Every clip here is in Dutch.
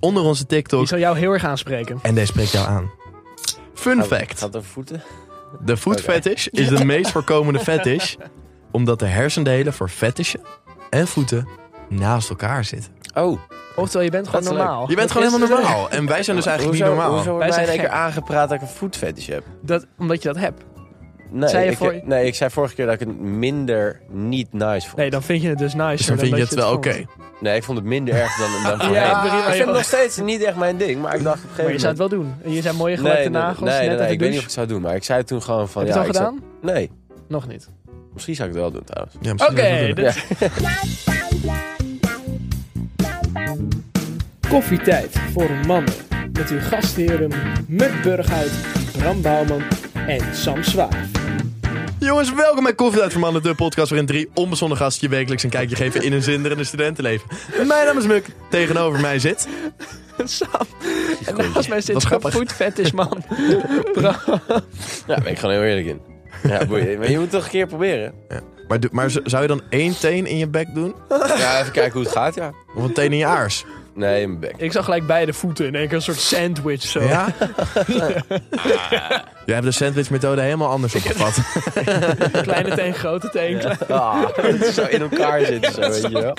onder onze TikTok. Die zal jou heel erg aanspreken. En deze spreekt jou aan. Fun fact. Gaat over voeten? De food fetish is de meest voorkomende fetish. Omdat de hersendelen voor fetishen en voeten naast elkaar zitten. Oh, Oftewel, je bent gewoon Dat is leuk. normaal. Je bent gewoon helemaal normaal. En wij zijn dus eigenlijk niet normaal. Hoezo Wij wij zijn zijn in één keer gek. aangepraat dat ik een voetfetish heb? Dat, omdat je dat hebt. Nee, Zei je ik, voor- nee, ik zei vorige keer dat ik het minder niet nice vond. Nee, dan vind je het dus nice. Dus dan vind je het wel oké. Nee, ik vond het minder erg dan, dan voorheen. Ja, ik prima. vind het nog joh. steeds niet echt mijn ding, maar ik dacht op een Maar gegeven je zou moment... het wel doen. En Je zijn mooie nee, gelakte nee, nagels, nee, nee, nee, net uit ik de weet niet of ik douche. het zou doen, maar ik zei toen gewoon van... Heb je ja, het al ik gedaan? zou- nee, Nog niet. misschien zou ik het wel doen trouwens. Ja, Oké, misschien zou ik het dit is Koffietijd voor mannen. Met uw gastheren Muk Burghuis, Bram Bouwman en Sam Zwaar. doen. Jongens, welkom bij Koffie Uit voor Mannen, de podcast waarin drie onbezonnen gasten je wekelijks een kijkje geven in een zinderende studentenleven. Mijn naam is Muk, tegenover mij zit... Sam, en naast mij Wat zit zo'n grappig. voetfetish man. Ja, daar ben ik gewoon heel eerlijk in. Ja, boeien. Maar je moet het toch een keer proberen. Maar, doe- maar zou je dan één teen in je bek doen? Ja, even kijken hoe het gaat, ja. Of een teen in je aars? Nee, in mijn bek. Ik zag gelijk beide voeten in één keer een soort sandwich zo. Ja? Jij hebt de sandwichmethode helemaal anders opgevat. Kleine teen, grote teen. Ah, het is zo in elkaar zitten, zo, weet je wel.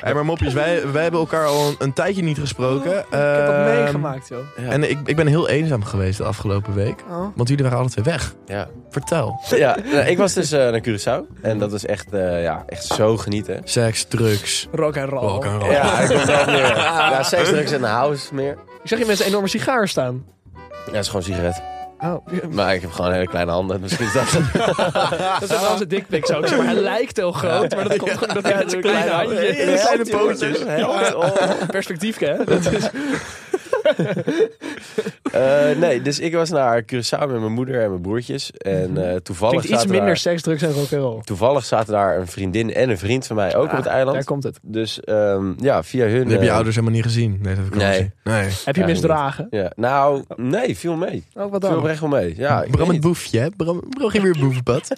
Hey, maar mopjes, wij, wij hebben elkaar al een, een tijdje niet gesproken. ik Ik heb dat Ehm, meegemaakt joh. En ik, ik ben heel eenzaam geweest de afgelopen week. Oh. Want jullie waren alle twee weg. Ja. Vertel. Ja, nou, ik was dus eh, naar Curaçao. En dat was echt, eh, ja, echt zo genieten. Seks, drugs, Rock and roll. rock and roll. Oh. Ja, ik was zelf meer. Ja, seks, drugs en house meer. Ik zag je mensen enorme sigaar staan. Ja, het is gewoon een sigaret. Oh, Maar ik heb gewoon hele kleine handen. dus Misschien is dat dat zijn wel zijn dickpics ook. zeg Maar hij lijkt heel groot, maar dat komt gewoon omdat hij met zijn kleine handje... Helpt, kleine jongen, pootjes. dus helpt. Oh. Perspectief, hè? Dat is Eh, nee, dus ik was naar Curaçao met mijn moeder en mijn broertjes. En eh, toevallig, Mhm. klinkt iets zaten minder daar, seks, drugs en rock'n'roll. toevallig zaten daar een vriendin en een vriend van mij ook op het Ah, Daar eiland. komt het. Dus ehm, ja, via hun... Die heb je eh, ouders helemaal niet gezien. Nee, dat heb ik Nee. nee. nee. Heb je Ja, misdragen? Ja. Nou, nee, viel mee. Ook wat Viel dan? oprecht wel mee. Ja, ik weet Bram het niet. boefje, hè? Bram, Bram ging weer boevenpad.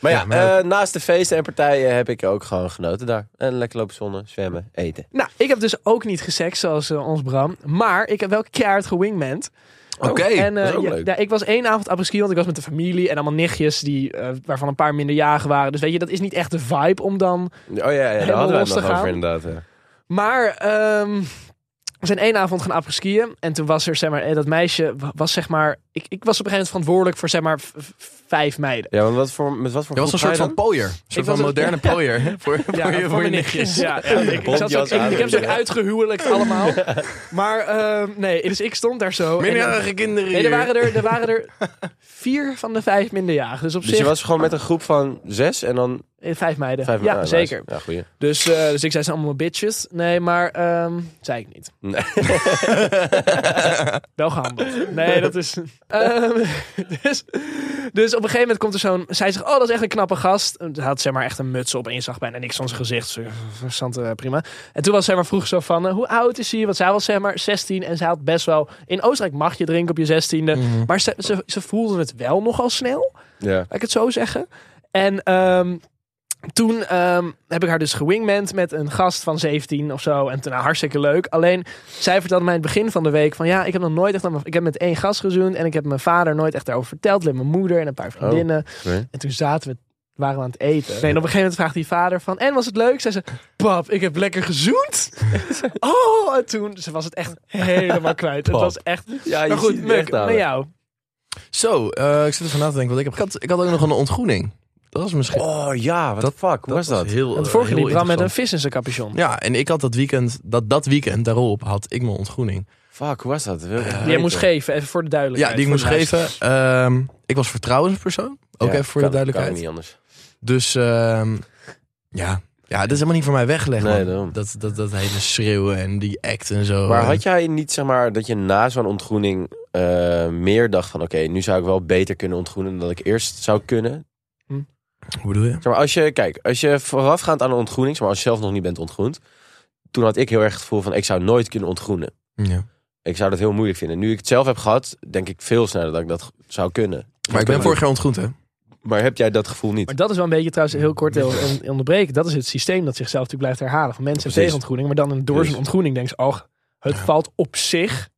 Maar ja, Ja, maar- eh, naast de feesten en partijen heb ik ook gewoon genoten daar. En lekker lopen zonnen, zwemmen, eten. Nou, ik heb dus ook niet gesext zoals eh, ons Bram. Maar ik heb wel keihard gewingmand. Oké, en eh, dat is ook ja, leuk. ja, ik was één avond apres-ski, want ik was met de familie en allemaal nichtjes die, eh, waarvan een paar minderjarigen waren. Dus weet je, dat is niet echt de vibe om dan Oh ja, ja daar Helemaal hadden we het los te nog over gaan. inderdaad. ja. Maar ehm, we zijn één avond gaan apres-skiën. En toen was er, zeg maar, eh, dat meisje wa- was zeg maar... Ik, ik was op een gegeven moment verantwoordelijk voor, zeg maar, v- v- vijf meiden. Ja, want wat voor, met wat voor Je was een groep soort ga van je pooier. Een soort was van een- moderne pooier. Voor, voor, je- voor je mijn nichtjes. Ja, ja, ik, ik, zat ze ook- Bontjas aan, ik, ik heb ze ook ja. uitgehuwelijkt allemaal. Maar ehm, nee, dus ik stond daar zo. en- Minderjarige kinderen nee, er hier. waren er, er waren er vier van de vijf minderjarigen. Dus op dan? Dus zich je was gewoon met een groep van zes en dan eh, vijf meiden. vijf ja, ah, nice. zeker. Ja, goeie. Dus, eh, dus ik zei ze allemaal bitches. Nee, maar ehm zei ik niet. Nee. Wel gehandeld. Nee, dat is... Ehm, dus, dus op een gegeven moment komt er zo'n... Zij zegt, oh, dat is echt een knappe gast. Hij had zeg maar echt een muts op en je zag bijna niks van zijn gezicht. Dus, eh, Interessant, eh, prima. En toen was zij maar vroeg zo van, eh, hoe oud is hij? Want zij was zeg maar 16 en zij had best wel... In Oostenrijk mag je drinken op je 16e. Maar ze, ze, ze voelde het wel nogal snel. Ja. Laat ik het zo zeggen. En ehm, toen ehm, heb ik haar dus gewingmand met een gast van 17 of zo. En toen nou, hartstikke leuk. Alleen, zij vertelde mij in het begin van de week van... Ja, ik heb nog nooit echt... aan mijn- Ik heb met één gast gezoend en ik heb mijn vader nooit echt daarover verteld. Alleen mijn moeder en een paar vriendinnen. Oh, oké. En toen zaten we... Waren we aan het eten. Nee, en op een gegeven moment vraagt die vader van... En was het leuk? Zei ze... Pap, ik heb lekker gezoend. oh, en toen... Ze was het echt helemaal kwijt. Het Pap. was echt... Ja, Maar goed, Muk, met jou. Zo, eh, ik zit even na te denken wat ik heb. Ik had, ik had ook nog een ontgroening. Dat was misschien... Oh ja, wat de fuck, hoe was dat? Heel, Want eh, vorige heel liep Bram met een interessant. vis in zijn capuchon. Ja, en ik had dat weekend, dat, dat weekend daarop had ik mijn ontgroening. Fuck, hoe was dat? Wil ik echt Die jij weten. moest geven, even voor de Ja, duidelijkheid. die ik moest Voor de geven. Ehm, ik was vertrouwenspersoon, ook Ja, even kan- voor de Kan duidelijkheid. niet anders. Dus ehm, ja, Ja, dat is helemaal niet voor mij weggelegd. Nee, man. daarom. dat, dat, dat hele schreeuwen en die act en zo. Maar had jij niet, zeg maar, dat je na zo'n ontgroening eh, meer dacht van... Oké, nu zou ik wel beter kunnen ontgroenen dan ik eerst zou kunnen? Hoe bedoel je? Zeg maar, als je, kijk, als je voorafgaand aan een ontgroening... Zeg maar, als je zelf nog niet bent ontgroend... Toen had ik heel erg het gevoel van, ik zou nooit kunnen ontgroenen. Ja. Ik zou dat heel moeilijk vinden. Nu ik het zelf heb gehad, denk ik veel sneller dat ik dat zou kunnen. Maar ik ben vorig jaar ontgroend, hè? Maar heb jij dat gevoel niet? Maar dat is wel een beetje trouwens heel kort heel on- onderbreken. Dat is het systeem dat zichzelf natuurlijk blijft herhalen. Van mensen hebben Precies. tegen ontgroening, maar dan een- door Dus. zijn ontgroening denken ze, oh, het valt op zich,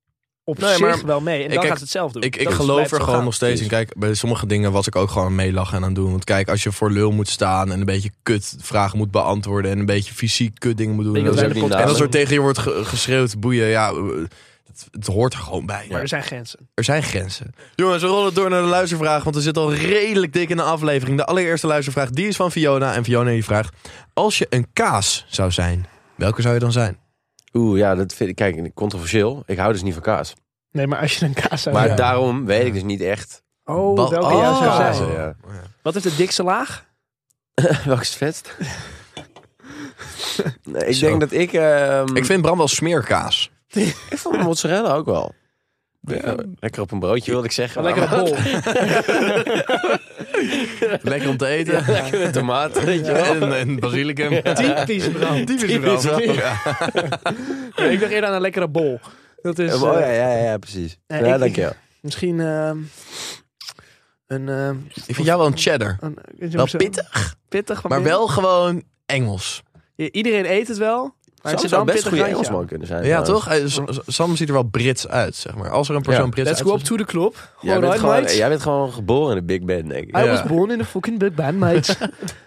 op Nee, zich maar wel mee. En dan ik- gaat het zelf doen. Ik, ik Dat is- geloof blijft er zo gewoon gaan. nog steeds in. Kijk, bij sommige dingen was ik ook gewoon meelachen en aan het doen. Want kijk, als je voor lul moet staan en een beetje kut vragen moet beantwoorden... en een beetje fysiek kut dingen moet doen... Ik En denk dat, dat wij ook de niet podcast- en dat soort tegen je wordt ge- geschreeuwd, boeien, ja... eh, Het, het hoort er gewoon bij. Maar er zijn grenzen. Er zijn grenzen. Jongens, we rollen door naar de luistervraag, want we zitten al redelijk dik in de aflevering. De allereerste luistervraag, die is van Fiona. En Fiona die vraagt, als je een kaas zou zijn, welke zou je dan zijn? Oeh, ja, dat vind ik, kijk, controversieel. Ik hou dus niet van kaas. Nee, maar als je een kaas zou Maar ja. daarom weet ik dus niet echt Oh, Ba- welke Oh. jij zou Ja. zijn. ja. Wat is de dikste laag? Welk is het vetst? nee, ik Zo. denk dat ik... ehm, Ik vind Bram wel smeerkaas. ik vond mozzarella ook wel. Ja, lekker op een broodje wilde ik zeggen. Lekker maar- een bol. Lekker om te eten. Ja, lekker met tomaat, weet je wel. En, en basilicum. Typisch Bram. Typisch Bram. Ja. Nee, ik dacht eerder aan een lekkere bol. Dat is Ja, maar- oh, eh, ja, ja, ja, precies. nee, ja, ik- dankjewel. misschien ehm, een... ehm, Ik vind jou wel een cheddar. een- ik weet niet Wel of ze- pittig, pittig van maar binnen. wel gewoon Engels. I- Iedereen eet het wel. Maar Sam het zit zou wel een best pittig goede randje Engelsman aan. kunnen zijn. Ja, trouwens. toch? Eh, S- S- Sam ziet er wel Brits uit, zeg maar. Als er een persoon Ja. Brits Let's uit go up to the club. Jij All bent, right, gewoon, mates. jij bent gewoon geboren in de Big Band, denk ik. I Ja. was born in a fucking big band, mates.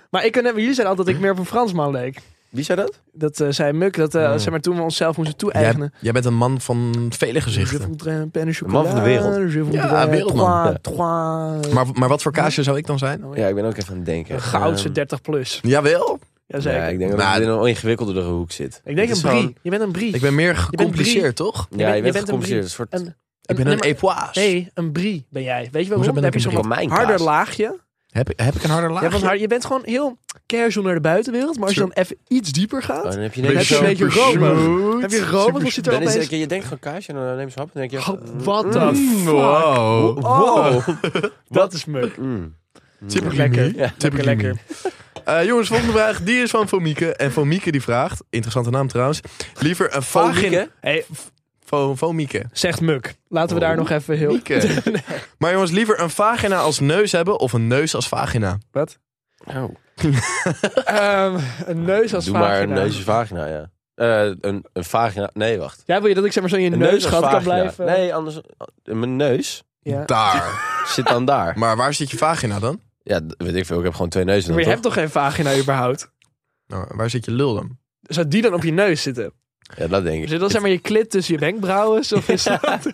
maar ik en jullie zeiden altijd dat ik meer op een Fransman leek. Wie zei dat? Dat eh, zei Muk, dat eh, Mm. zeg maar, toen we onszelf moesten jij, toe-eigenen. jij bent een man van vele Je gezichten. voudrais een pen en man van de wereld. chocola, je voudrais Ja, wereldman. trois- trois- Maar, maar wat voor kaasje zou ik dan zijn? Nou, Ja, ik ben ook even aan het denken. Een goudse Ehm, 30 plus. Jawel. Jazeker. Ja, ik ik, denk dat Nou, het in een ingewikkeldere hoek zit. denk dit een is brie. gewoon- Je bent een brie. Ik ben meer bent gecompliceerd, toch? ja, bent- je je bent bent een gecompliceerd. Een brie- soort een- Ik ben een nee, epoise. maar- Nee, een brie ben jij. Weet je waarom? Hoezo ben Dan heb ik je een zo'n wat Romeinkaas. harder laagje. Heb, heb ik een harder laag? Ja, want haar- je bent gewoon heel casual naar de buitenwereld. Maar als je dan even iets dieper gaat, Oh, dan heb je heb ineens je een zo'n- beetje romig. Heb je romig of zit er Dan is opeens... het- Je denkt gewoon kaasje en dan neem je zo'n hap en dan denk je... Oh, what the fuck? Wow. Oh, dat is muk. mm. Typical Lekker. me. Lekker, Typical lekker. me. Eh, jongens, volgende vraag. Die is van Fomieke. En Fomieke die vraagt, interessante naam trouwens. Liever een vagina... Vagin. Hey, Fo- Fomieke. zegt muk. Laten Oh. we daar nog even heel... Mieke. Maar jongens, liever een vagina als neus hebben of een neus als vagina? Wat? Oh. Ehm, een neus als Doe vagina. maar een neusje vagina, ja. Eh, een, een vagina... Nee, wacht. Jij wil je dat ik zeg maar zo in je Een neus als neusgat kan vagina. blijven? Nee, anders... Mijn neus Ja. Daar. zit dan daar. Maar waar zit je vagina dan? Ja, d- weet ik veel. Ik heb gewoon twee neuzen. Maar je dan, hebt toch geen vagina überhaupt? Nou, waar zit je lul dan? Zou die dan op je neus zitten? toch? Ja, dat denk ik. Zit dan Dus zeg maar je klit tussen je wenkbrauwen? Of is dat...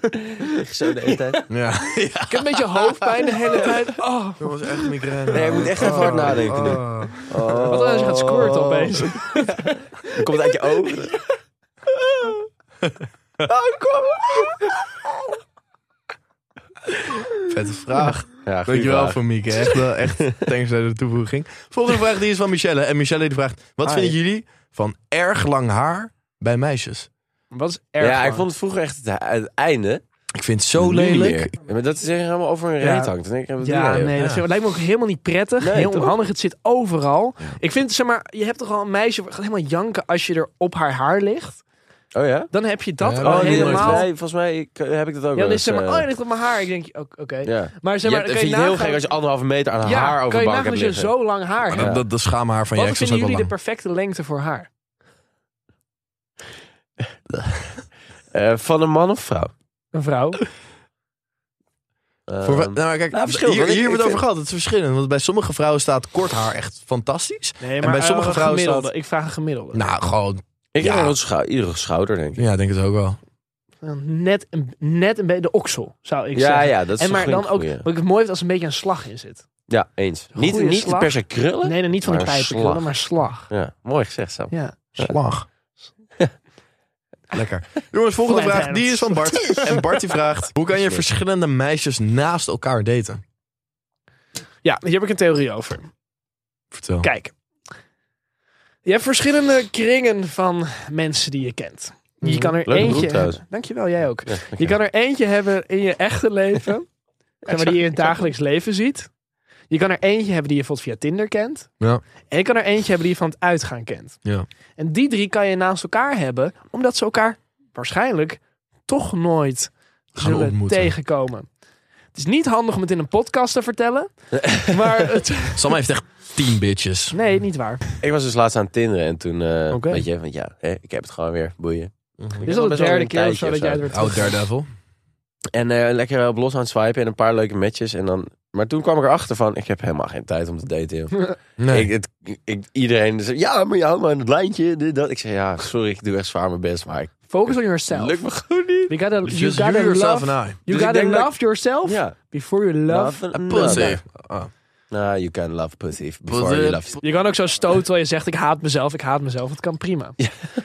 Zo de hele tijd. Ja. Ik heb een beetje hoofdpijn de hele tijd. Oh. Dat was echt migraine. Oh. Nee, je moet echt even hard nadenken nu. Oh. Wat als je gaat squirten opeens? Dan komt het uit je ogen. Vette vraag. Ja, goeie Dankjewel vraag. voor Mieke. Echt, wel, echt thanks voor de toevoeging. Volgende vraag die is van Michelle. En Michelle die vraagt: Hi. Wat vinden jullie van erg lang haar bij meisjes? Wat is erg Ja, lang. ik vond het vroeger echt het, het einde. Ik vind het zo Nu lelijk. meer. Ja, maar dat is echt helemaal over een Ja. reet hangt. Dan denk ik, ja, wat doe Ja, jij, joh? nee, dat Ja. lijkt me ook helemaal niet prettig. Nee, heel toch? onhandig, het zit overal. Ik vind, zeg maar, je hebt toch al een meisje gaat helemaal janken als je er op haar haar ligt. Oh ja? Dan heb je dat Ja, al maar Oh, die nee, helemaal. nee, volgens mij ik- heb ik dat ook ja, wel dan eens. is zeg maar, eh, oh, je ligt op mijn haar. Ik denk, oké. oké. ja. Maar zeg Je maar, hebt- dan kan vind je je het heel nagaan- gek als je anderhalve meter aan ja, haar over een kan bank je nagaan hebt als je liggen. zo lang haar Maar hebt. dat, dat, dat schaamhaar van je Wat ex is vinden ook wel jullie de lang. perfecte lengte voor haar? Eh, van een man of vrouw? Een vrouw? Ehm, Voor, nou, maar kijk, nou, verschil, hier, want ik- hier hebben ik we het over gehad. Het is verschillend. Want bij sommige vrouwen staat kort haar echt fantastisch. Nee, bij eh, sommige vrouwen gemiddelde. staat- Ik vraag een gemiddelde. Nou, gewoon. Ik Ja. heb een schou iedere schouder, denk ik. Ja, ik denk het ook wel. Net, een- net een beetje de oksel, zou ik ja, zeggen. ja, dat is en maar een dan ook, goeie. wat ik het mooi vind als er een beetje een slag in zit. Ja, eens. Een Niet, goeie niet slag. per se krullen. Nee, dan niet van de Maar pijpen slag. krullen, maar slag. Ja, mooi gezegd, Sam. Ja. Slag. Lekker. Jongens, volgende Flat vraag. Die hands. is van Bart. En Bart die vraagt: Hoe kan je verschillende meisjes naast elkaar daten? ja, hier heb ik een theorie over. Vertel. Kijk. Je hebt verschillende kringen van mensen die je kent. Je kan er Leuke broek eentje. trouwens. hebben- Dankjewel, jij ook. Ja, Je kan er eentje hebben in je echte leven. zeg maar, die je in het dagelijks leven ziet. Je kan er eentje hebben die je bijvoorbeeld via Tinder kent. Ja. En je kan er eentje hebben die je van het uitgaan kent. Ja. En die drie kan je naast elkaar hebben, omdat ze elkaar waarschijnlijk toch nooit Gaan zullen ontmoeten. tegenkomen. Het is niet handig om het in een podcast te vertellen. maar het, Sam heeft echt tien bitches. nee, niet waar. Ik was dus laatst aan Tinderen en toen, eh, Oké. weet je, want ja, hè, ik heb het gewoon weer, boeien. Dit is al de best wel derde een keer of tijdje zo dat of jij het zo. weer terug- Oud Daredevil. En eh, lekker op los aan het swipen en een paar leuke matches. En dan, maar toen kwam ik erachter van, ik heb helemaal geen tijd om te daten. joh. Nee. Ik, het, ik, iedereen zei, ja, maar jou, maar het lijntje, dit, dat. Ik zei, ja, sorry, ik doe echt zwaar mijn best, maar ik, Focus on yourself. lukt me gewoon niet. You gotta, you Just gotta you yourself love, and I. you Dus ik gotta denk dat love yourself Ja. before you love. Love A and pussy. love. Ah. Ah, you can love pussy before Pussy. you love Je kan ook zo stoten terwijl je zegt ik haat mezelf, ik haat mezelf. Het kan prima.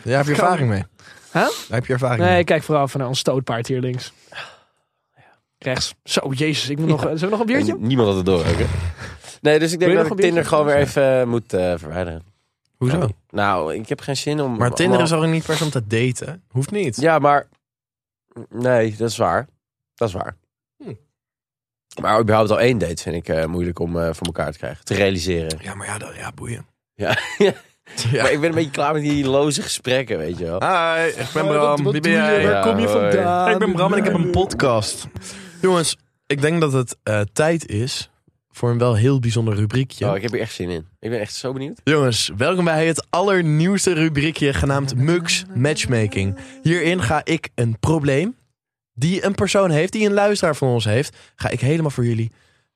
Daar heb je ervaring mee. Huh? Daar heb je ervaring Nee, mee. kijk vooral even naar ons stootpaard hier links. Rechts. Zo, jezus. Ik moet nog, zullen we nog een biertje? En Niemand had het door, ook, hè? Nee, dus ik Wil denk je dat nog een ik biertje? Tinder gewoon weer even eh, moet eh, verwijderen. Hoezo? Oh, Nou, ik heb geen zin om... Maar Tinder is allemaal- ook niet per se om te daten. Hoeft niet. Ja, maar... Nee, dat is waar. Dat is waar. Hm. Maar überhaupt al één date vind ik eh, moeilijk om eh, voor elkaar te krijgen. Te realiseren. Ja, maar ja, dat, ja boeien. Ja. Ja. Ah, Maar ik ben een beetje klaar met die loze gesprekken, weet je wel. Hi, ik ben Bram. Wie ben je? jij? Waar kom je hoi. vandaan? Ik ben Bram en ik heb een podcast. Jongens, ik denk dat het eh, tijd is voor een wel heel bijzonder rubriekje. Oh, ik heb hier echt zin in. Ik ben echt zo benieuwd. Jongens, welkom bij het allernieuwste rubriekje genaamd Mux Matchmaking. Hierin ga ik een probleem die een persoon heeft, die een luisteraar van ons heeft, ga ik helemaal voor jullie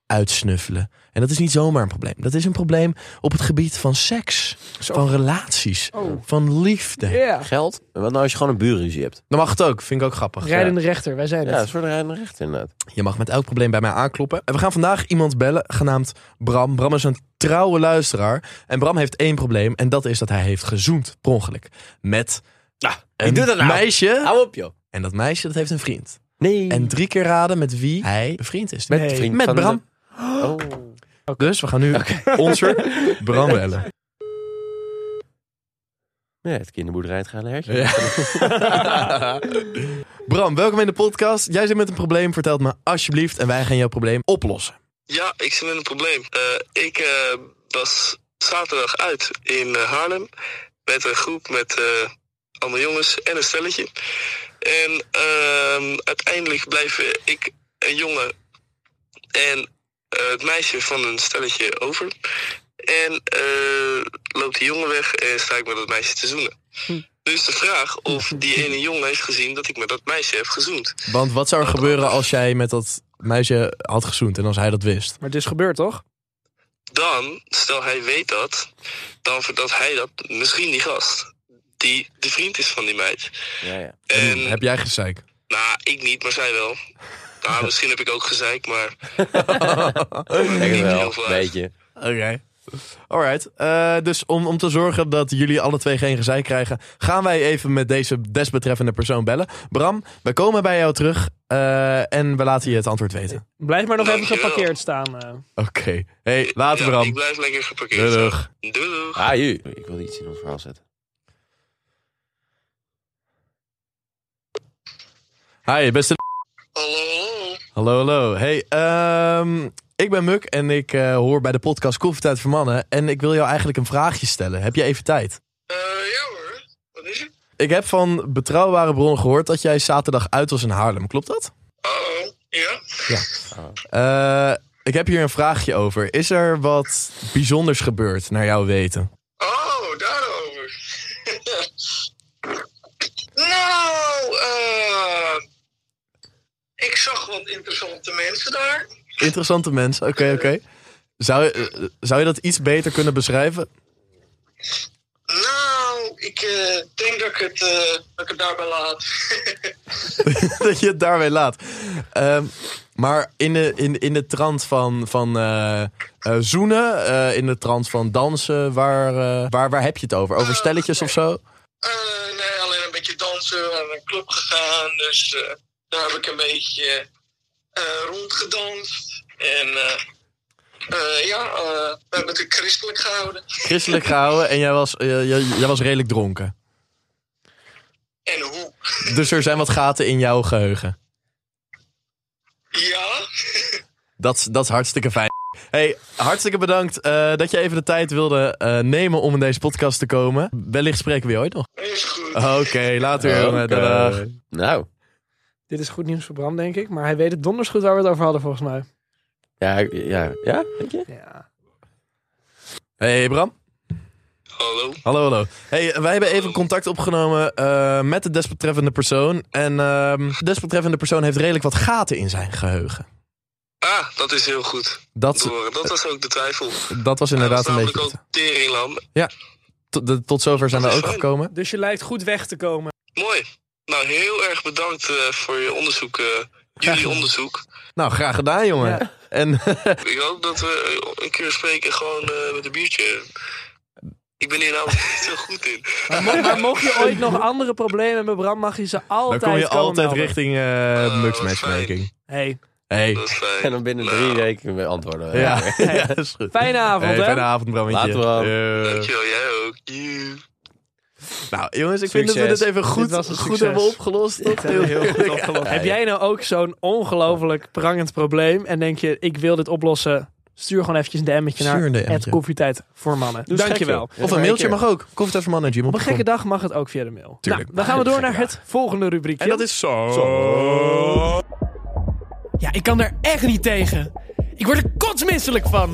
uitsnuffelen. En dat is niet zomaar een probleem. Dat is een probleem op het gebied van seks, Zo. van relaties, Oh. van liefde. Ja. Geld? En wat nou als je gewoon een buurruzie hebt? Dat mag het ook, vind ik ook grappig. Rijdende rechter, wij zijn Ja, een het. soort rijdende recht inderdaad. Je mag met elk probleem bij mij aankloppen. En we gaan vandaag iemand bellen, genaamd Bram. Bram is een trouwe luisteraar. En Bram heeft één probleem, en dat is dat hij heeft gezoend, per ongeluk. Met wie doet dat nou? meisje. Hou op, joh. En dat meisje, dat heeft een vriend. Nee. En drie keer raden met wie hij bevriend is. Met Vriend Met van de- Bram. Oh. Dus we gaan nu onze Bram bellen. Ja, het kinderboerderij, het gaan hertje. Bram, welkom in de podcast. Jij zit met een probleem, vertel het me alsjeblieft. En wij gaan jouw probleem oplossen. Ja, ik zit in een probleem. Eh, ik eh, was zaterdag uit in eh, Haarlem met een groep met eh, andere jongens en een stelletje. En ehm, uiteindelijk blijven ik, een jongen en eh, het meisje van een stelletje over. En eh, loopt die jongen weg en sta ik met dat meisje te zoenen. Nu is de vraag of die ene jongen heeft gezien dat ik met dat meisje heb gezoend. Want wat zou er gebeuren als jij met dat meisje had gezoend en als hij dat wist? Maar het is gebeurd, toch? dan, stel hij weet dat, dan vertelt hij dat misschien die gast, die de vriend is van die meid. Ja, ja. En, Heb jij gezeik? nou, ik niet, maar zij wel. Nou, misschien heb ik ook gezeik, maar Ik denk het niet wel, heel veel uit. beetje. Oké. Alright. Eh, dus om, om te zorgen dat jullie alle twee geen gezeik krijgen, gaan wij even met deze desbetreffende persoon bellen. Bram, we komen bij jou terug eh, en we laten je het antwoord weten. Blijf maar nog even Dankjewel. geparkeerd staan. eh. Oké. Hey, later Ja, Bram. Ik blijf lekker geparkeerd. Doei, staan. doeg. Doei. doeg. Ah, u. Ik wilde iets in ons verhaal zetten. Hi, beste. Hallo, hallo. Hallo, hallo. Hey, ehm, ik ben Muk en ik eh, hoor bij de podcast Koffietijd voor Mannen. En ik wil jou eigenlijk een vraagje stellen. Heb je even tijd? Eh, ja hoor, wat is het? Ik heb van betrouwbare bronnen gehoord dat jij zaterdag uit was in Haarlem. Klopt dat? Oh, ja. Eh, ik heb hier een vraagje over. Is er wat bijzonders gebeurd, naar jouw weten? Oh, daarover. nou, eh, ik zag wat interessante mensen daar. Interessante mensen, oké, oké. Zou, eh, zou je dat iets beter kunnen beschrijven? Nou, ik eh, denk dat ik, het, eh, dat ik het daarbij laat. dat je het daarbij laat. Ehm, maar in de, in, in de trant van, van eh, eh, zoenen, eh, in de trant van dansen, waar, eh, waar, waar heb je het over? Over stelletjes of zo? Eh, nee, alleen een beetje dansen. We naar een club gegaan. Dus eh, daar heb ik een beetje eh, rondgedanst. En eh, Eh, ja, eh, we hebben het christelijk gehouden. Christelijk gehouden en jij was, eh, jij, jij was redelijk dronken. En hoe? Dus er zijn wat gaten in jouw geheugen. Ja, Dat, is- dat is hartstikke fijn. Hey, hartstikke bedankt eh, dat je even de tijd wilde eh, nemen om in deze podcast te komen. Wellicht spreken we je ooit nog. is goed. Oké, later jongen. Oké. Dag. Nou, Dit is goed nieuws voor Bram, denk ik. Maar hij weet het donders goed waar we het over hadden, volgens mij. ja, ja, ja, denk je? Ja. Hey Bram. Hallo. Hallo, hallo. Hey, wij hebben even contact opgenomen eh, met de desbetreffende persoon. En ehm de desbetreffende persoon heeft redelijk wat gaten in zijn geheugen. Ah, dat is heel goed. Dat, Door. Dat was ook de twijfel. dat was inderdaad dat een was beetje... namelijk ook teringlam. Tot, de- tot zover zijn we Dat is ook fijn. gekomen. Dus je lijkt goed weg te komen. Mooi. Nou, heel erg bedankt eh, voor je onderzoek. eh, jullie onderzoek. Nou, graag gedaan, jongen. Ja. En Ik hoop dat we eh, een keer spreken gewoon eh, met een biertje. Ik ben hier namelijk niet zo goed in. Maar, mo- maar mocht je ooit nog andere problemen hebben, Bram, mag je ze dan altijd kom je komen altijd melden. richting eh Oh, Mux wat Matchmaking. Hey, Hey. Dat is En eh, fijn. dan binnen drie weken weer antwoorden. we. Eh, Ja, ja, dat is goed. fijne avond, Hey, hè? fijne avond, Brammetje. Later, Bram. Eh, Dankjewel, jij ook. You. nou, jongens, ik vind dat we Succes. dit even goed, was een goed succes. hebben opgelost. Toch? hebben we heel goed opgelost. Heb jij nou ook zo'n ongelooflijk prangend probleem en denk je, ik wil dit oplossen? Stuur gewoon eventjes een DM'tje Stuur een naar DM'tje. het koffietijd voor mannen. Dus Doe eens Dankjewel. gek, joh. Of een mailtje mag ook. Koffietijverman.gmail.com Op een gekke dag mag het ook via de mail. Tuurlijk. Nou, dan gaan we door naar het volgende rubriekje. En dat is zo. Ja, ik kan er echt niet tegen. Ik word er kotsmisselijk van.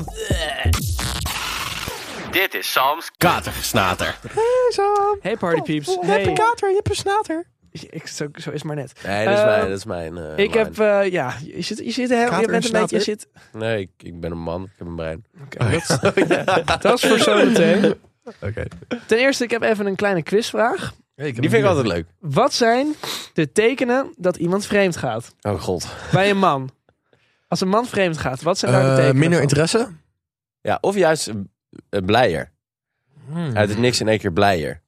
Dit is Sam's Katergesnater. Hey partypeeps. Hey. kater, Oh, je hebt een snater. Ik, zo, zo is maar net. Nee, dat is Eh, mijn. Dat is mijn eh, Ik mijn. heb, eh, ja, je zit, je zit heel, je Kater bent een staat beetje, je er. zit... Nee, ik, ik ben een man. Ik heb een brein. Oké, dat, dat is voor zo meteen. Oké. Ten eerste, ik heb even een kleine quizvraag. Die vind ik altijd leuk. Wat zijn de tekenen dat iemand vreemd gaat? Oh god. Bij een man. Als een man vreemd gaat, wat zijn daar de tekenen Eh, minder van? interesse? Ja, of juist eh, eh, blijer. Mhm. Hmm. Uit het niks in één keer blijer.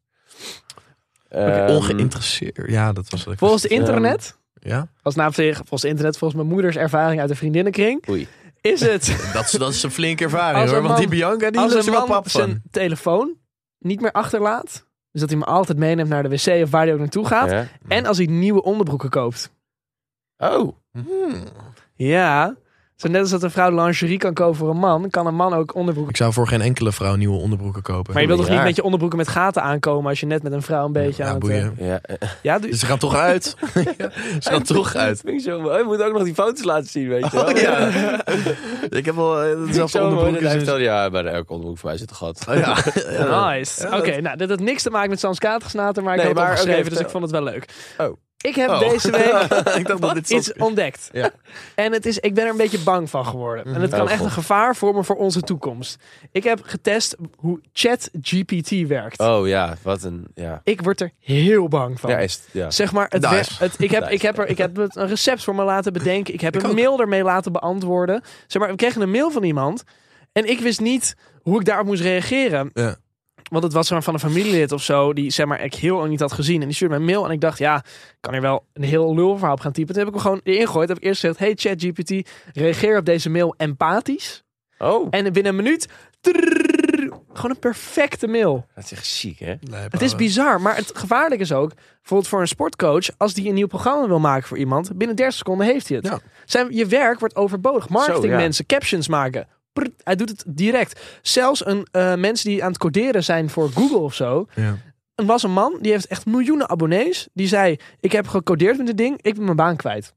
Ehm, Ongeïnteresseerd. Ja, dat was het. Volgens de internet, Ja. als naam tegen, volgens de internet, volgens mijn moeders ervaring uit de vriendinnenkring, Oei. is het Dat is, dat is een flinke ervaring Als hoor. een Want die man- Bianca, die als is er wel een man pap van. zijn telefoon niet meer achterlaat, dus dat hij hem altijd meeneemt naar de wc of waar hij ook naartoe gaat, Ja. en als hij nieuwe onderbroeken koopt. Oh. Hmm. Ja, zo net als dat een vrouw lingerie kan kopen voor een man, kan een man ook onderbroeken. Ik zou voor geen enkele vrouw nieuwe onderbroeken kopen. Maar je wilt toch niet raar. met je onderbroeken met gaten aankomen als je net met een vrouw een beetje aan ja, het... eh, boeien. Dus Ja. eh, Ja, doe- Ze gaan toch uit. Ze gaan toch uit. Vind ik zo mooi. Je moet ook nog die foto's laten zien, weet je wel. Oh, ja. ik heb wel eh, Vind ik dezelfde zo mooi dat onderbroeken. hij sinds- vertelde, ja, bij de elke onderbroek voor mij zit een gat. Oh, ja. eh, Nice. Ja, Oké, dat- nou, dit had niks te maken met Sam's katergesnater, maar ik eh, Nee, had het maar, opgeschreven, oké, eh, dus ik vond het wel leuk. Oh. Ik heb Oh. deze week ik dacht dat dit zo... iets ontdekt. Ja. En het is, ik ben er een beetje bang van geworden. En het kan Oh, echt God. een gevaar vormen voor onze toekomst. Ik heb getest hoe ChatGPT werkt. Oh ja, wat een... Ja, Ik word er heel bang van. ja is het- ja. Zeg maar, het Nice. wer- het, ik, heb, Nice. ik, heb er, ik heb het een recept voor me laten bedenken. Ik heb Ik een ook. mail ermee laten beantwoorden. Zeg maar, we kregen een mail van iemand. En ik wist niet hoe ik daarop moest reageren. Ja. Want het was zeg maar van een familielid of zo. Die zeg maar, ik heel lang niet had gezien. En die stuurde mij een mail. En ik dacht, ja, ik kan hier wel een heel lulverhaal op gaan typen. Toen heb ik hem gewoon erin gegooid. Heb ik eerst gezegd, hey ChatGPT, reageer op deze mail empathisch. Oh, En binnen een minuut, trrrr, gewoon een perfecte mail. dat is echt ziek, hè? Het is bizar, maar het gevaarlijk is ook, bijvoorbeeld voor een sportcoach, als die een nieuw programma wil maken voor iemand, binnen 30 seconden heeft hij het. Ja. Zijn, je werk wordt overbodig. Marketing ja. mensen, captions maken. Prrt, hij doet het direct. Zelfs een, eh, mensen die aan het coderen zijn voor Google of zo. Ja. Er was een man, die heeft echt miljoenen abonnees. Die zei, ik heb gecodeerd met dit ding, ik ben mijn baan kwijt.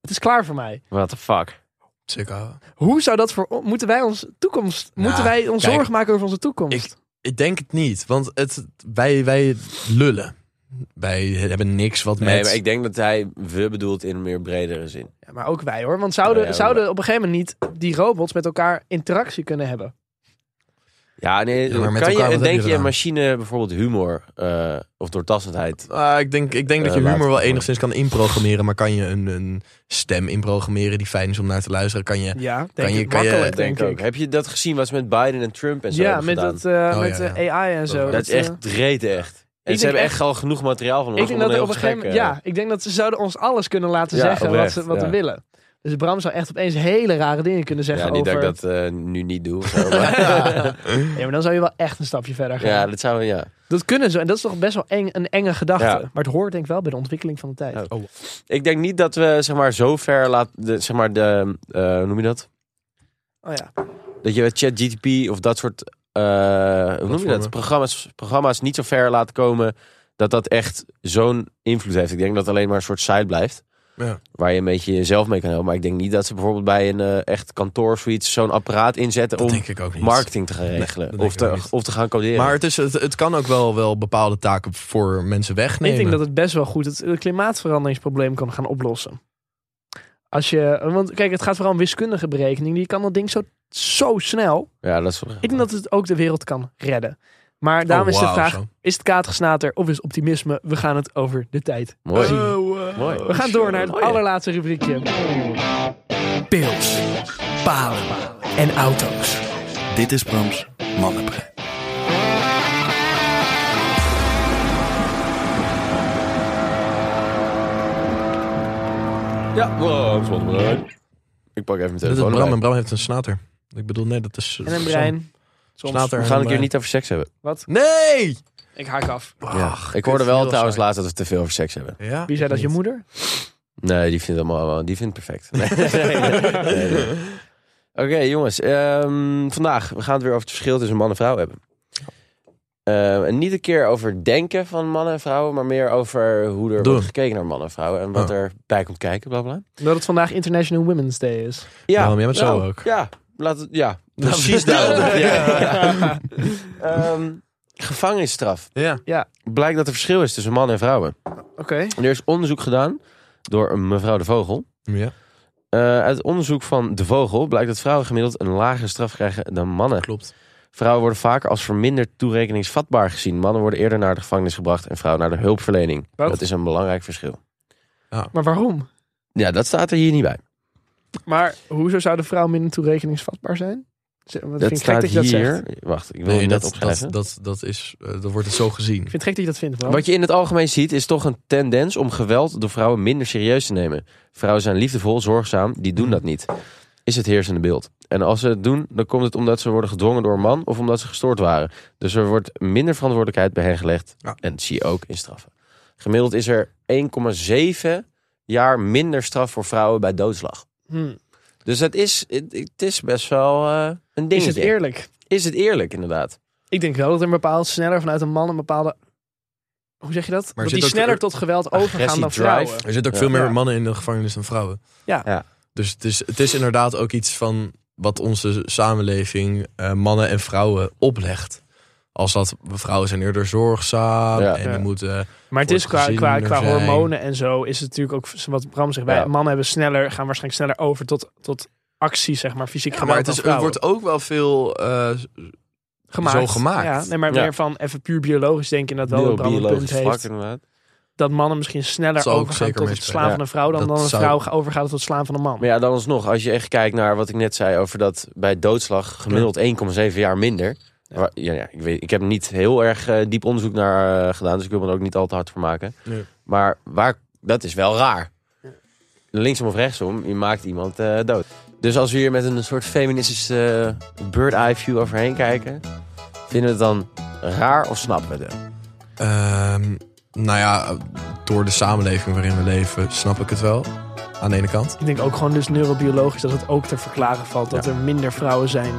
Het is klaar voor mij. What the fuck? Sick, ouwe. Hoe zou dat voor... Moeten wij ons toekomst... Nou, moeten wij ons kijk, zorgen maken over onze toekomst? ik- Ik denk het niet, want het, wij, wij lullen. Wij hebben niks wat Nee, met... maar ik denk dat hij we bedoelt in een meer bredere zin. Ja, maar ook wij hoor. Want zouden, Oh Ja, ja, zouden op een gegeven moment niet die robots met elkaar interactie kunnen hebben? Ja, nee, Ja, maar met kan elkaar, je, wat denk heb je je een eraan? machine bijvoorbeeld humor eh, of doortastendheid? Ah, ik denk, ik denk dat Eh, je laat humor het wel maar. enigszins kan inprogrammeren, maar kan je een, een stem inprogrammeren die fijn is om naar te luisteren? Kan je... Ja, denk je- ik kan je- makkelijk, Denk denk, ook. ik. Heb je dat gezien wat ze met Biden en Trump en zo ja, hebben met, gedaan? Oh dat, eh, ja, met ja. eh, AI en zo. Dat dat is eh, echt reten echt. En denk ze hebben echt- echt, al genoeg materiaal van ons ik denk om dat er heel op een gegeven moment... gesprek, eh, Ja, ik denk dat ze zouden ons alles kunnen laten Ja, zeggen wat, oprecht, ze, wat ja. we willen. Dus Bram zou echt opeens hele rare dingen kunnen zeggen Ja, niet over... dat ik dat eh, nu niet doe. of zo, maar- Ja, maar dan zou je wel echt een stapje verder gaan. ja, dat zou ja. Dat kunnen ze. En dat is toch best wel eng, een enge gedachte. Ja. Maar het hoort denk ik wel bij de ontwikkeling van de tijd. Ja. Ik denk niet dat we zeg maar zo ver laten, de- zeg maar de, eh, hoe noem je dat? Oh ja. Dat je ChatGTP of dat soort, eh, hoe noem je Platformen. dat? Programma's, programma's niet zo ver laten komen dat dat echt zo'n invloed heeft. Ik denk dat het alleen maar een soort site blijft. Ja. Waar je een beetje jezelf mee kan helpen. Maar ik denk niet dat ze bijvoorbeeld bij een eh, echt kantoor of zoiets zo'n apparaat inzetten Dat om denk ik ook niet. marketing te gaan dat regelen. denk of, ik ook te, niet. of te gaan coderen. Maar het, is, het, het kan ook wel, wel bepaalde taken voor mensen wegnemen. Ik denk dat het best wel goed het eh, klimaatveranderingsprobleem kan gaan oplossen. Als je, want kijk, het gaat vooral om wiskundige berekening. Die kan dat ding zo, zo snel. ja, dat is, Ik denk dat het ook de wereld kan redden. Maar daarom is de vraag, is het katergesnater of is het optimisme? We gaan het over de tijd Oh, mooi. zien. eh, mooi. eh, We gaan door naar Oh, het allerlaatste rubriekje. Pils, palen en auto's. Dit is Brams Mannenbrein. Ja, wow, vond het leuk. Ik pak even mijn Dit is telefoon. Bram erbij. en Bram heeft een snater. Ik bedoel, nee, dat is... En een brein. Soms. Snater. We gaan een keer niet over seks hebben. Wat? Nee! Ik haak af. ja. Ik hoorde dit is wel heel trouwens saai. laatst dat we te veel over seks hebben. Ja, Wie zei dat? Je niet. moeder? Nee, die vindt het allemaal wel- Die vindt het perfect. Nee, nee, nee, nee. Oké, jongens. ehm, vandaag, we gaan het weer over het verschil tussen man en vrouw hebben. Ehm, en niet een keer over denken van mannen en vrouwen, maar meer over hoe er Doen. Oh. wordt gekeken naar mannen en vrouwen en wat Ja. erbij komt kijken, bla bla. Dat het vandaag International Women's Day is. Ja, Waarom? Jij bent zo nou, ook. Ja, laat het, ja precies daarom. Ja, ja. Ehm, gevangenisstraf. Ja. Blijkt dat er verschil is tussen mannen en vrouwen. Oké. En er is onderzoek gedaan door een mevrouw De Vogel. ja, Eh, uit onderzoek van De Vogel blijkt dat vrouwen gemiddeld een lagere straf krijgen dan mannen. klopt. Vrouwen worden vaker als verminderd toerekeningsvatbaar gezien. Mannen worden eerder naar de gevangenis gebracht en vrouwen naar de hulpverlening. Wat? Dat is een belangrijk verschil. Maar waarom? Ja, dat staat er hier niet bij. Maar hoezo zou de vrouw minder toerekeningsvatbaar zijn? Z- Want ik vind Dat het gek staat dat je dat hier. zegt. Wacht, ik wil Nee, het net dat, dat, opschrijven. dat, dat, is, eh, dat wordt het zo gezien. Ik vind het gek dat je dat vindt, man. Wat je in het algemeen ziet is toch een tendens om geweld door vrouwen minder serieus te nemen. Vrouwen zijn liefdevol, zorgzaam, die Hmm. doen dat niet. Is het heersende beeld. En als ze het doen, dan komt het omdat ze worden gedwongen door een man of omdat ze gestoord waren. Dus er wordt minder verantwoordelijkheid bij hen gelegd. Ja. En dat zie je ook in straffen. Gemiddeld is er 1,7 jaar minder straf voor vrouwen bij doodslag. Hmm. Dus dat is, het, het is best wel eh, een dingetje. Is het eerlijk? Is het eerlijk, inderdaad? Ik denk wel dat er een bepaald sneller vanuit een man een bepaalde... Hoe zeg je dat? dat zit die ook- sneller tot geweld overgaan dan Agressie, vrouwen. drive. Er zitten ook Ja. veel meer Ja. mannen in de gevangenis dan vrouwen. Ja. Ja. Dus het is, het is inderdaad ook iets van wat onze samenleving eh, mannen en vrouwen oplegt. Als dat vrouwen zijn eerder zorgzaam Ja. en Ja. die moeten. Maar het Voor is het qua, gezin qua, er qua zijn. hormonen en zo is het natuurlijk ook... Wat Bram zegt, wij Ja. mannen hebben sneller, gaan waarschijnlijk sneller over tot, tot actie, zeg maar. Fysiek Ja, maar geweld het, is, dan het vrouwen. wordt ook wel veel. eh, gemaakt. zo gemaakt. Ja, nee, maar Ja. meer van even puur biologisch denk ik dat wel dat Bram een punt Biologisch vlak, heeft. inderdaad. Dat mannen misschien Dat sneller zou ook overgaan zeker tot het meespelen. slaan Ja. van een vrouw... dan, Dat dan een zou- vrouw overgaat tot het slaan van een man. Maar ja, dan alsnog, als je echt kijkt naar wat ik net zei over dat bij doodslag gemiddeld 1,7 jaar minder. Ja. Waar- Ja, ja, ik, weet, ik heb niet heel erg eh, diep onderzoek naar eh, gedaan, dus ik wil me er ook niet al te hard voor maken. Nee. Maar waar, dat is wel raar. Linksom of rechtsom, je maakt iemand eh, dood. Dus als we hier met een soort feministische eh, bird-eye view overheen kijken, vinden we het dan raar of snappen we het? wel? ehm, nou ja, door de samenleving waarin we leven, snap ik het wel. Aan de ene kant. Ik denk ook gewoon dus neurobiologisch dat het ook te verklaren valt dat er minder vrouwen zijn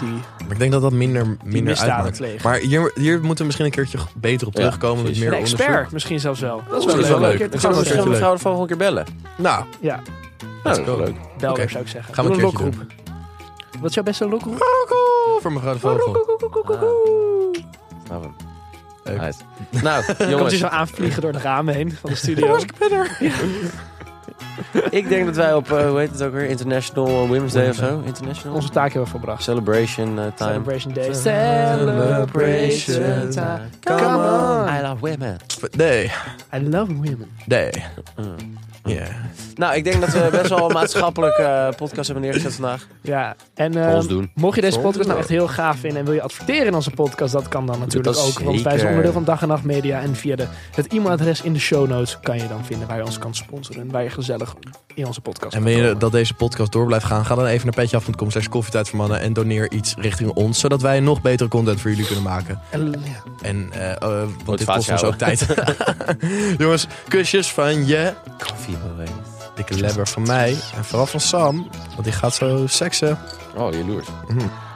die, Maar ik denk dat dat minder, die minder misdaden uitmaakt. plegen. Maar hier, hier moeten we misschien een keertje beter op Ja, terugkomen. met precies. meer een expert onderzoek. misschien zelfs wel. Dat is is wel wel, Oeh, leuk. leuk. leuk. Dat Dan is Ik wel gaan we zou misschien de vrouw leuk. zeggen, de volgende keer bellen. Nou, Ja, Nou, dat is wel leuk. bel Oké. zou ik zeggen. Gaan we Doe een een keertje lokroep. Wat is jouw beste lokroep? voor mevrouw de Vogel. Snap hem. Leuk. Uit. Nou, Komt hij jongens. zo aanvliegen door de ramen heen van de studio. Ik denk dat wij op, eh, hoe heet het ook weer, International Women's Day of zo? International? Onze taak hebben we volbracht. Celebration eh, time. Celebration Day. Celebration time. Come I love women. on. Nee, I love women. nee. Mm. Ja. Nou, ik denk dat we best wel een maatschappelijke eh, podcast hebben neergezet vandaag. Ja, en ehm, Ons doen. mocht je deze Ons podcast doen. nou echt heel gaaf vinden en wil je adverteren in onze podcast, dat kan dan natuurlijk dat ook. Want wij zijn zeker. onderdeel van Dag en Nacht Media en via de, het e-mailadres in de show notes kan je dan vinden waar je ons kan sponsoren en waar je gezellig in onze podcast En kan wil je komen. dat deze podcast door blijft gaan, ga dan even naar petjeaf.com slash koffietijd voor mannen en doneer iets richting ons, zodat wij nog betere content voor jullie kunnen maken. En, ja. En, eh, eh, want dit vaak kost ons ook tijd. Jongens, kusjes van je. Dikke lebber van mij. En vooral van Sam, want die gaat zo seksen. Oh, jaloers. Mhm.